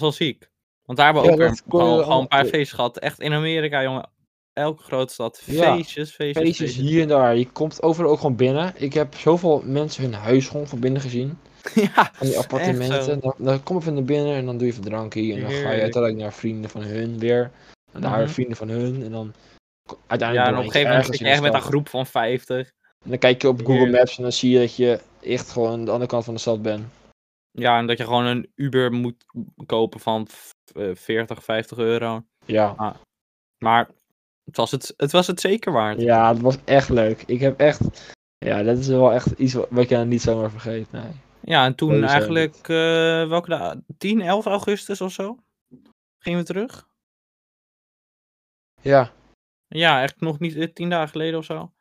A: was wel ziek. Want daar hebben we
B: Ja,
A: ook weer
B: dat
A: een-
B: kon je
A: gewoon,
B: wel
A: gewoon een paar
B: allemaal-
A: feestjes gehad. Echt in Amerika, jongen. Elke grote stad.
B: Ja.
A: Feestjes, feestjes,
B: Feestjes
A: feestjes.
B: hier en daar. Je komt overal ook gewoon binnen. Ik heb zoveel mensen hun huis gewoon van binnen gezien.
A: ja,
B: Van die
A: echt zo.
B: appartementen. Dan, dan kom je van binnen en dan doe je even drankje. En dan ga je
A: Heerlijk.
B: uiteindelijk naar vrienden van hun weer. En daar
A: Mhm.
B: vrienden van hun. En dan ko-
A: Ja,
B: uiteindelijk
A: en op
B: beland
A: een
B: je
A: gegeven moment
B: ergens
A: zit je
B: in de
A: echt met een
B: stad.
A: groep van 50.
B: En dan kijk je op Google
A: Heerlijk.
B: Maps en dan zie je dat je echt gewoon aan de andere kant van de stad bent.
A: Ja, en dat je gewoon een Uber moet kopen van v- eh, 40, 50 euro.
B: Ja.
A: Maar het was het, het, was het zeker waard.
B: ja, het was echt leuk. Ik heb echt... Ja, dat is wel echt iets wat, wat je niet zomaar vergeet. Nee.
A: Ja, en toen
B: Zo zijn
A: eigenlijk, eh, welke dag? 10, 11 augustus of zo? Gingen we terug?
B: Ja,
A: Ja, echt nog niet eh, tien dagen geleden of zo.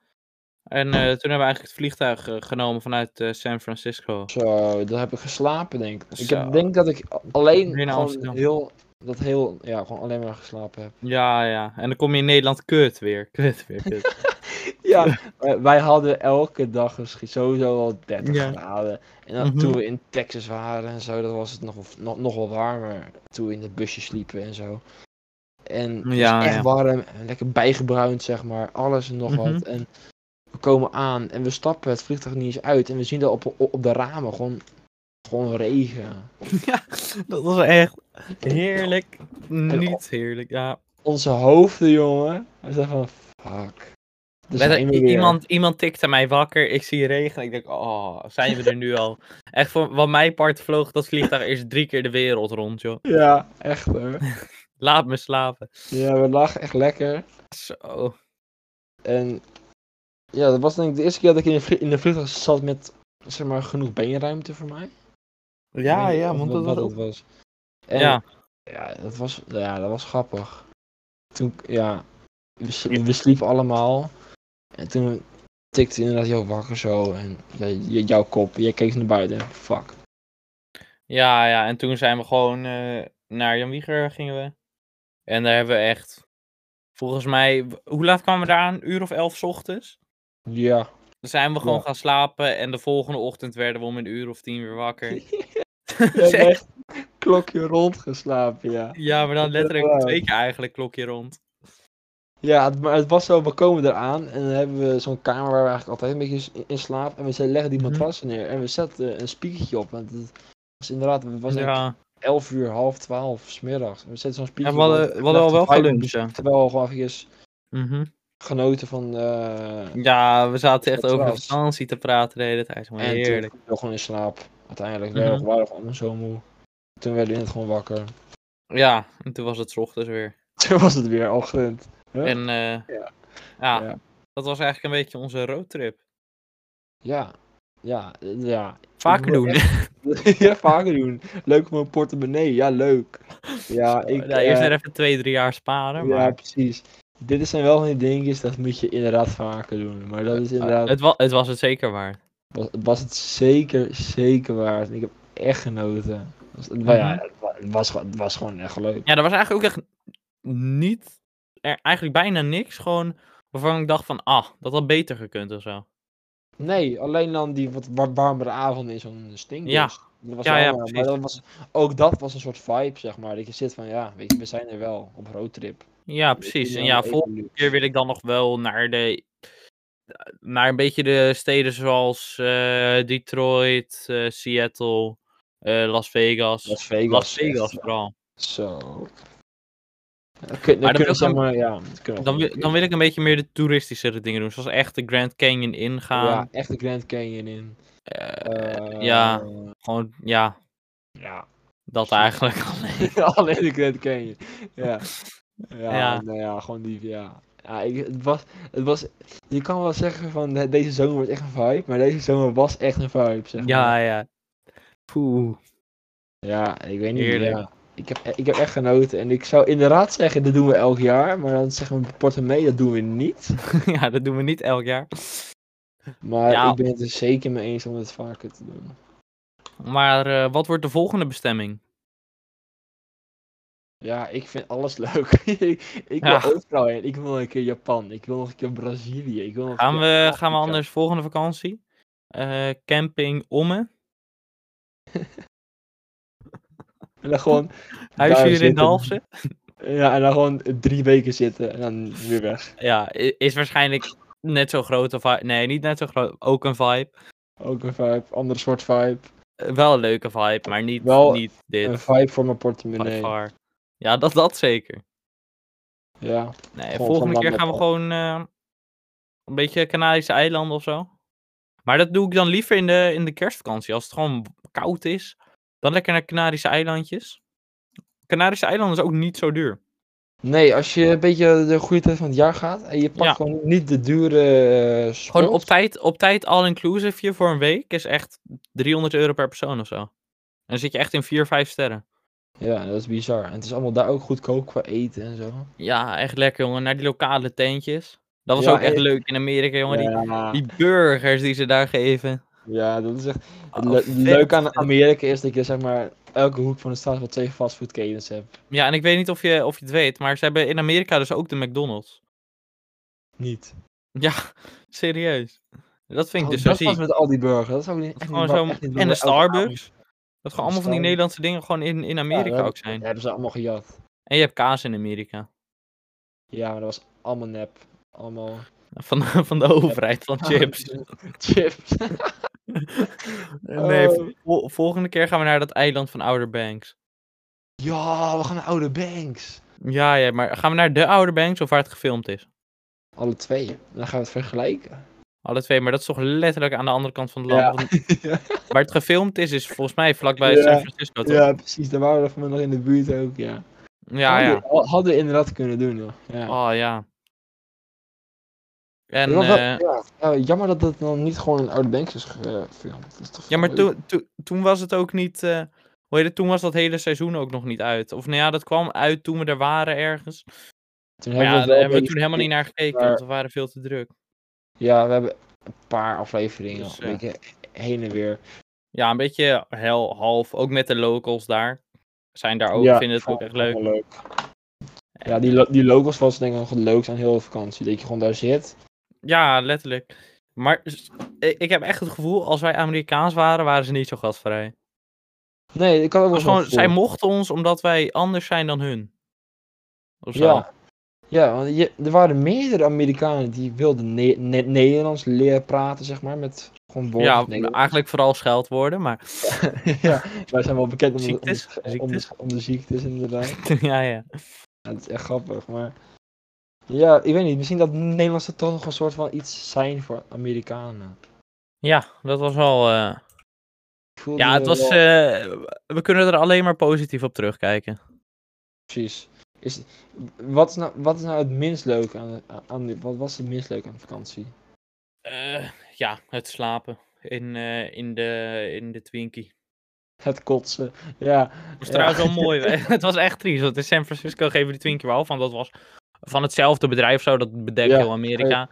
A: En eh, toen hebben we eigenlijk het vliegtuig eh, genomen vanuit eh, San Francisco.
B: zo, dan heb ik geslapen denk ik. Ik heb-
A: Zo.
B: denk dat ik a- alleen
A: Weer naar
B: gewoon
A: Amsterdam.
B: heel, dat heel, ja, gewoon alleen maar geslapen heb.
A: Ja, ja. En dan kom je in Nederland kut weer. Kut weer, kut.
B: Ja, wij- wij hadden elke dag misschien sowieso al 30
A: Ja.
B: graden. En dan,
A: Mhm.
B: toen we in Texas waren en zo, dat was het nog, nog, nog wel warmer. Toen we in de busjes sliepen en zo. En het was
A: Ja,
B: echt
A: ja.
B: warm, en lekker bijgebruind zeg maar, alles en nog wat.
A: Mhm.
B: En we komen aan en we stappen het vliegtuig niet eens uit. En we zien dat op, op, op de ramen gewoon, gewoon regen.
A: ja, dat was echt heerlijk.
B: op-
A: Niet heerlijk, ja.
B: Onze hoofden, jongen. We zeiden van, fuck. daar
A: Let-
B: zijn we
A: i-
B: weer.
A: iemand, iemand tikte mij wakker, ik zie regen. Ik denk, oh, zijn we er nu al? Echt, voor, wat mijn part vloog dat vliegtuig eerst drie keer de wereld rond, joh.
B: Ja, echt hoor.
A: Laat me slapen.
B: Ja, we lachen echt lekker.
A: Zo.
B: En ja, dat was denk ik de eerste keer dat ik in een, vlie- in een vliegtuig zat met zeg maar, genoeg beenruimte voor mij. Ik weet niet of wat het was. En,
A: Ja.
B: ja. dat was, ja, dat was grappig. Toen, ja, we, sl- we sliepen allemaal. En toen tikte inderdaad jou wakker zo. En ja, j- jouw kop, jij keek naar buiten. Fuck.
A: Ja, ja, en toen zijn we gewoon eh, naar Jan Wieger gingen we. En daar hebben we echt, volgens mij, w- hoe laat kwamen we daar aan? Een uur of elf 's ochtends?
B: Ja.
A: Dan zijn we gewoon
B: Ja.
A: gaan slapen en de volgende ochtend werden we om een uur of tien weer wakker.
B: Je hebt
A: Zeg,
B: echt klokje rondgeslapen, ja.
A: ja, maar dan
B: is echt
A: letterlijk
B: waar.
A: twee keer eigenlijk klokje rond.
B: Ja, het, maar het was zo, we komen eraan en dan hebben we zo'n kamer waar we eigenlijk altijd een beetje in, in slapen. En we zetten- leggen die
A: Mhm.
B: matrassen neer en we zetten een spiekertje op. Want het was inderdaad, het was echt
A: Ja,
B: 11 uur, half 12 smiddags. En we zetten zo'n
A: en
B: spiekertje
A: we hadden,
B: op.
A: we hadden al wel geluncht. ja.
B: Terwijl we gewoon even
A: Mhm.
B: genoten van. eh,
A: Ja, we zaten echt
B: Dat
A: over de
B: was-
A: vakantie te praten de hele tijd. Maar
B: en
A: heerlijk.
B: toen viel gewoon in slaap. Uiteindelijk
A: Mhm.
B: werden we waren we allemaal zo moe. Toen werden we het gewoon wakker.
A: Ja, en toen was het 's ochtends weer.
B: Toen was het weer ochtend. Huh?
A: En eh,
B: Ja.
A: ja,
B: Ja.
A: dat was eigenlijk een beetje onze roadtrip.
B: Ja, ja, eh, ja.
A: Vaker
B: wil
A: doen.
B: ja, vaker doen. Leuk om een portemonnee. Ja, leuk. Ja, ik.
A: Ja, eerst
B: eh,
A: weer even twee, drie jaar sparen. Maar eh,
B: Ja, precies. Dit zijn wel van die dingetjes, dat moet je inderdaad vaker doen. Maar dat is inderdaad,
A: het, wa- het was het zeker waard.
B: was, was het zeker, zeker waard. En Ik heb echt genoten. Was- Maar ja,
A: Mhm.
B: het wa- het was, gewoon- het was gewoon echt leuk.
A: Ja, er was eigenlijk ook echt niet, er, eigenlijk bijna niks. Gewoon waarvan ik dacht van, ah, dat had beter gekund of zo.
B: Nee, alleen dan die wat war- warmere avonden in zo'n stinkbus.
A: Ja.
B: Dat was
A: Ja,
B: wel
A: ja,
B: waar, maar
A: precies.
B: dat was, ook dat was een soort vibe, zeg maar. Dat je zit van, ja, weet je, we zijn er wel op roadtrip.
A: Ja, precies. En
B: Even-
A: ja,
B: even
A: volgende
B: luxe.
A: keer wil ik dan nog wel naar de, naar een beetje de steden zoals eh, Detroit, eh, Seattle, eh, Las Vegas.
B: Las Vegas.
A: Las
B: echt
A: Vegas
B: wel.
A: vooral.
B: Zo. Dan kun-
A: Maar
B: Dan
A: dan
B: kunnen we
A: wil
B: zeg
A: ik-
B: maar, ja. dat kunnen we
A: Dan,
B: gewoon
A: wil- dan wil ik een beetje meer de toeristischere dingen doen. Zoals echt de Grand Canyon ingaan.
B: Ja, echt de Grand Canyon in.
A: Eh,
B: Eh,
A: ja. Gewoon, ja,
B: Ja.
A: dat
B: Precies.
A: eigenlijk alleen.
B: Alleen de Grand Canyon. Ja. Ja,
A: Ja.
B: nou ja, gewoon die, ja. Ja, ik, het was, het was, je kan wel zeggen van de- deze zomer wordt echt een vibe, maar deze zomer was echt een vibe, zeg maar.
A: Ja, ja. Poeh.
B: Ja, ik weet niet,
A: Heerlijk.
B: ja. Ik heb, ik heb echt genoten en ik zou inderdaad zeggen, dat doen we elk jaar, maar dan zeggen we portemonnee, dat doen we niet.
A: ja, dat doen we niet elk jaar.
B: Maar
A: Ja.
B: ik ben het er zeker mee eens om het vaker te doen.
A: Maar eh, wat wordt de volgende bestemming?
B: Ja, ik vind alles leuk. ik ik wil
A: Ja.
B: overal heen. Ik wil nog een keer Japan. Ik wil nog een keer Brazilië. Ik wil nog een
A: Gaan
B: keer
A: we, gaan we
B: Afrika.
A: anders volgende vakantie? Eh, camping Omme.
B: En dan gewoon,
A: Huisje hier in
B: zitten.
A: Dalfsen.
B: ja, en dan gewoon drie weken zitten en dan weer weg.
A: Ja, i- is waarschijnlijk net zo groot. Of, nee, niet net zo groot. Ook een vibe.
B: Ook een vibe, andere soort vibe.
A: Eh, wel een leuke vibe, maar niet,
B: Wel
A: niet dit.
B: Een vibe voor mijn
A: by
B: portemonnee.
A: far. Ja, dat, dat zeker.
B: Ja,
A: Nee,
B: Gewoon
A: volgende
B: van
A: keer
B: land
A: gaan we
B: op.
A: gewoon eh, een beetje Canarische eilanden of zo. Maar dat doe ik dan liever in de, in de kerstvakantie. Als het gewoon koud is, dan lekker naar Canarische eilandjes. Canarische eilanden is ook niet zo duur.
B: Nee, als je een beetje de goede tijd van het jaar gaat en je pakt
A: Ja.
B: gewoon niet de dure eh sport.
A: Gewoon op tijd, op tijd all-inclusive hier voor een week is echt 300 euro per persoon of zo. En dan zit je echt in 4, 5 sterren.
B: Ja, dat is bizar. En het is allemaal daar ook goedkoop qua eten en zo.
A: Ja, echt lekker jongen. Naar die lokale tentjes. Dat was
B: Ja,
A: ook echt
B: en-
A: leuk in Amerika jongen. Die,
B: ja,
A: die burgers die ze daar geven.
B: ja, dat is echt... Het
A: Oh,
B: le-
A: vet,
B: leuke aan
A: vet.
B: Amerika is dat je zeg maar elke hoek van de straat wel twee fastfoodketens hebt.
A: Ja, en ik weet niet of je, of je het weet, maar ze hebben in Amerika dus ook de McDonald's.
B: Niet.
A: Ja, serieus. Dat vind ik
B: Oh,
A: dus zo
B: dat was
A: ziek.
B: met al die burgers. Dat zou ik niet, echt
A: Gewoon
B: niet,
A: zo,
B: echt niet doen
A: en de
B: bij elke avond.
A: Starbucks. Dat gewoon allemaal van die
B: Starbucks.
A: Nederlandse dingen gewoon in, in
B: Ja,
A: Amerika
B: dat
A: ook
B: hebben-
A: zijn.
B: dat hebben ze allemaal gejat.
A: En je hebt kaas in Amerika.
B: Ja, maar dat was allemaal nep. Allemaal...
A: Van, van de overheid, van chips.
B: Oh. Chips.
A: Nee,
B: Oh.
A: vol- volgende keer gaan we naar dat eiland van Outer Banks.
B: Ja, we gaan naar Oude Banks.
A: Ja, ja, maar gaan we naar de Outer Banks of waar het gefilmd is?
B: Alle twee. En dan gaan we het vergelijken.
A: Alle twee, maar dat is toch letterlijk aan de andere kant van het land.
B: Ja.
A: Want
B: Ja.
A: Waar het gefilmd is, is volgens mij vlakbij
B: Ja.
A: San Francisco. Toch?
B: Ja, precies. Daar waren we van nog in de buurt ook, ja.
A: ja, ja.
B: Hadden, hadden we inderdaad kunnen doen, joh. Oh, Ja.
A: Oh ja. En,
B: Dat was wel-
A: eh,
B: ja, ja, jammer dat dat dan niet gewoon in Oude Banks is gefilmd. Dat is toch
A: ja, maar
B: wel leuk.
A: toen, toen- toen was het ook niet. eh, hoe heet het? Toen was dat hele seizoen ook nog niet uit. Of nou ja, dat kwam uit toen we er waren ergens.
B: Toen
A: Maar ja,
B: het
A: daar
B: wel
A: hebben we
B: een
A: toen helemaal niet naar gekeken,
B: maar-
A: want we waren veel te druk.
B: beetje- Ja, we hebben een paar afleveringen.
A: Dus,
B: een beetje heen en weer.
A: Ja, een beetje hel, half. Ook met de locals daar. Zijn daar ook,
B: ja,
A: vinden het ook
B: vond
A: echt
B: ik
A: leuk.
B: wel Ja, die, lo- die locals was denk ik nog het leukste aan heel de vakantie. Dat je gewoon daar zit.
A: Ja, letterlijk. Maar s- i- ik heb echt het gevoel, als wij Amerikaans waren, waren ze niet zo gastvrij.
B: Nee, ik had ook wel
A: Was
B: zo'n
A: gewoon, zij
B: gevoel.
A: mochten ons omdat wij anders zijn dan hun. Of zo.
B: Ja. Ja, want je, er waren meerdere Amerikanen die wilden Ne- Ne- Nederlands leren praten, zeg maar, met gewoon woorden.
A: Ja,
B: denk ik.
A: eigenlijk vooral scheldwoorden, maar
B: ja, wij zijn wel bekend om, de- om de-
A: ziektes.
B: om, de-
A: ziektes.
B: om de ziektes, inderdaad.
A: ja, ja.
B: Ja, dat is echt grappig, maar... Ja, ik weet niet, misschien dat Nederlandse toch nog een soort van iets zijn voor Amerikanen.
A: ja, dat was wel. eh,
B: Ik voelde
A: Ja, het was.
B: wel-
A: eh, we kunnen er alleen maar positief op terugkijken.
B: Precies. Is, wat, is nou, wat is nou het minst leuk aan, aan die- Wat was het minst leuk aan de vakantie?
A: Eh, ja, het slapen in, eh, in, de, in de Twinkie.
B: Het kotsen. Ja.
A: Het was
B: Ja.
A: trouwens wel mooi. hè. het was echt triest. Want in San Francisco geven die Twinkie wel van. Dat was van hetzelfde bedrijf zo. Dat bedekt
B: Ja,
A: heel Amerika.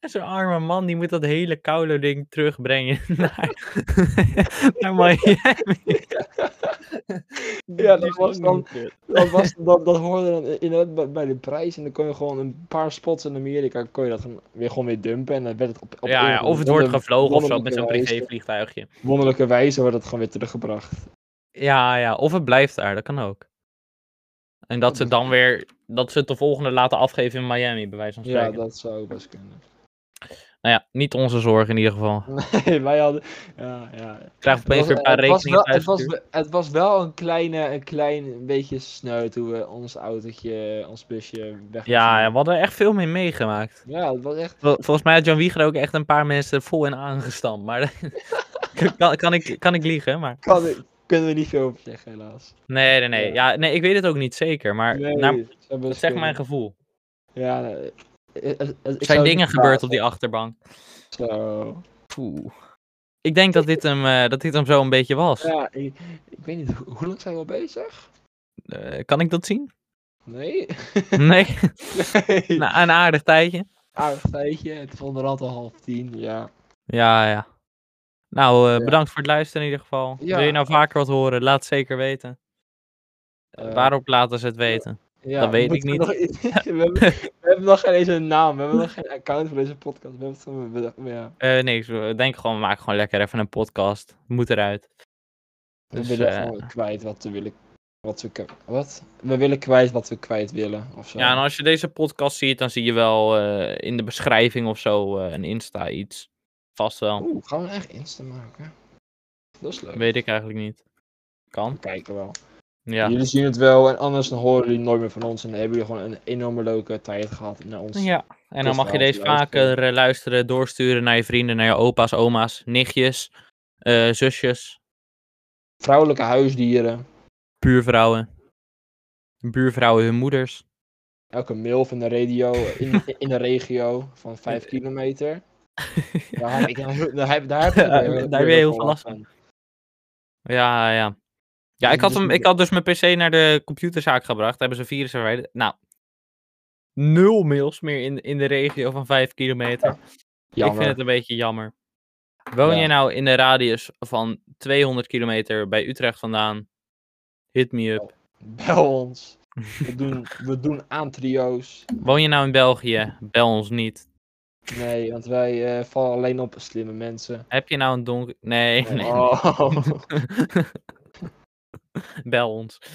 A: en zo'n arme man die moet dat hele koude ding terugbrengen naar, naar Miami.
B: Ja, dat
A: is
B: was
A: ook
B: dan-
A: niet kut.
B: Dat, was, dat, dat hoorde dan in- inderdaad bij- bij de prijs. En dan kon je gewoon een paar spots in Amerika kon je dat gewoon weer, gewoon weer dumpen. En dan werd het op, op
A: ja,
B: een
A: ja,
B: of
A: of het wordt
B: wonder-
A: gevlogen of zo met zo'n
B: wonderlijke wijze-
A: privévliegtuigje.
B: Wonderlijke wijze wordt het gewoon weer teruggebracht.
A: Ja, ja, of het blijft daar, dat kan ook. En dat ze
B: dat-
A: dan weer, dat ze het de volgende laten afgeven in Miami, bij wijze van
B: Ja,
A: spreken.
B: dat zou ook best kunnen.
A: Nou ja, niet onze zorg in ieder geval.
B: Nee, wij hadden... Ja, ja.
A: Ik krijg
B: Het
A: opeens
B: was-
A: weer een paar
B: het was
A: rekeningen
B: wel- het was,
A: thuisgestuurd.
B: we- het was wel een, kleine, een klein beetje sneu toen we ons autootje, ons busje weg
A: Ja, ja, we hadden er echt veel mee meegemaakt.
B: Ja, het was echt...
A: Vol- Volgens mij had Jan Wieger ook echt een paar mensen vol en aangestampt. Maar kan, kan, ik, kan ik liegen, maar...
B: Kan, ik- kunnen we niet veel over zeggen, helaas.
A: Nee, nee, nee. Ja, nee, ik weet het ook niet zeker, maar nou,
B: Nee,
A: naar-
B: het zou best
A: dat zegt mijn
B: kunnen.
A: gevoel.
B: Ja, nee, het- het- het- ik
A: Er
B: zou
A: zijn
B: het
A: dingen
B: niet
A: gebeurd op die achterbank.
B: Zo.
A: Poeh. Ik denk dat dit hem, eh, dat dit hem zo een beetje was.
B: Ja, ik, ik weet niet, ho- hoe lang zijn we al bezig?
A: Eh, kan ik dat zien?
B: Nee?
A: Nee,
B: nee.
A: nou, een aardig tijdje.
B: Aardig Nou, tijdje, het is onderhand al half tien, ja.
A: Ja, ja. Nou, eh,
B: Ja.
A: bedankt voor het luisteren in ieder geval.
B: Ja.
A: Wil je nou vaker wat horen? Laat het zeker weten.
B: Eh,
A: Waarop laten ze het weten?
B: ja,
A: dat
B: we
A: weet ik
B: moeten
A: niet.
B: nog- we, hebben, we hebben nog geen eens een naam, we hebben nog geen account voor deze podcast. We hebben het gewoon bedacht, maar ja.
A: Eh nee, ik denk gewoon, we maken gewoon lekker even een podcast. Moet eruit.
B: We
A: Dus,
B: willen
A: eh,
B: gewoon kwijt wat we willen. Wat we, k- wat? we willen kwijt wat we kwijt willen, of zo.
A: Ja, en als je deze podcast ziet, dan zie je wel eh, in de beschrijving of zo eh, een Insta iets. Vast wel.
B: Oeh, gaan we een eigen Insta maken? Dat is leuk.
A: Weet ik eigenlijk niet.
B: We
A: Kan.
B: kijken wel.
A: Ja.
B: Jullie zien het wel en anders dan horen jullie nooit meer van ons. En dan hebben jullie gewoon een enorme leuke tijd gehad naar ons.
A: Ja, en dan
B: Kost
A: mag je
B: wel
A: deze
B: te luisteren.
A: vaker eh, luisteren, doorsturen naar je vrienden, naar je opa's, oma's, nichtjes, eh, zusjes,
B: Vrouwelijke huisdieren.
A: buurvrouwen. buurvrouwen hun moeders.
B: Elke mil van de radio in, in de regio van 5
A: Eh,
B: kilometer. Daar heb ik daar heb, daar heb, ik
A: Ja, daar heb
B: weer-
A: je
B: weer
A: heel
B: wat
A: veel last van. Ja, ja. Ja, ik had,
B: Dus
A: hem,
B: die-
A: ik had dus mijn PC naar de computerzaak gebracht. Hebben ze een virus verwijderd. Nou, nul mails meer in, in de regio van 5 kilometer. Ik
B: Jammer.
A: vind het een beetje jammer. Woon
B: Ja.
A: je nou in de radius van 200 kilometer bij Utrecht vandaan? Hit me up.
B: Bel ons. We doen, we doen aan trio's.
A: Woon je nou in België? Bel ons niet.
B: Nee, want wij eh, vallen alleen op slimme mensen.
A: Heb je nou een donker... Nee, nee. nee.
B: Oh.
A: Bel ons.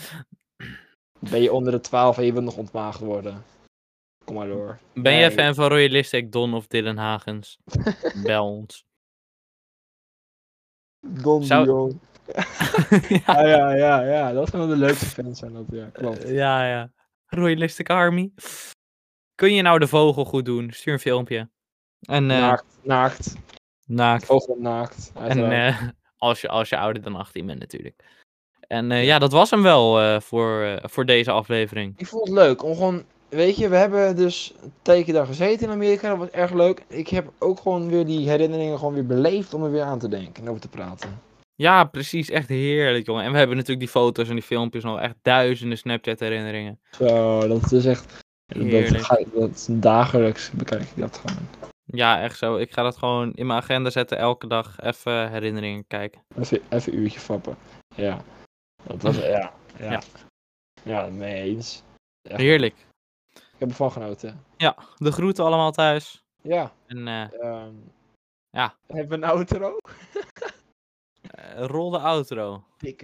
B: Ben je onder de 12 en je wilt nog ontmaagd worden? Kom maar door.
A: Ben jij
B: Nee.
A: fan van Royalistic Don of Dylan Hagens? Bel ons.
B: Don
A: Zou-
B: Dion.
A: ja,
B: Ah, ja, ja, ja. Dat zijn wel de leukste fans zijn dat, ja. Klopt.
A: ja, ja. Royalistic Army. Kun je nou de vogel goed doen? Stuur een filmpje. En eh,
B: Naakt, naakt.
A: naakt.
B: Vogel naakt.
A: En
B: uiteraard.
A: eh, als, je, als je ouder dan 18 bent natuurlijk. En eh, ja, dat was hem wel eh, voor, eh, voor deze aflevering.
B: Ik vond het leuk om gewoon. Weet je, we hebben dus een tijdje daar gezeten in Amerika. Dat was erg leuk. Ik heb ook gewoon weer die herinneringen gewoon weer beleefd om er weer aan te denken en over te praten.
A: Ja, precies. Echt heerlijk, jongen. En we hebben natuurlijk die foto's en die filmpjes nog. Echt duizenden Snapchat-herinneringen.
B: Zo, dat is dus echt. Dat,
A: Heerlijk.
B: ga, ik- dat is dagelijks bekijk ik dat gewoon.
A: Ja, echt zo. Ik ga dat gewoon in mijn agenda zetten. Elke dag even herinneringen kijken.
B: Even, even een uurtje fappen. Ja. Dat was, ja. Ja.
A: Ja.
B: Ja, mee eens. Echt.
A: Heerlijk.
B: Ik heb ervan genoten.
A: Ja, de groeten allemaal thuis.
B: Ja.
A: En eh,
B: ehm,
A: Ja.
B: Hebben we een outro?
A: eh, rol de outro.
B: Dikke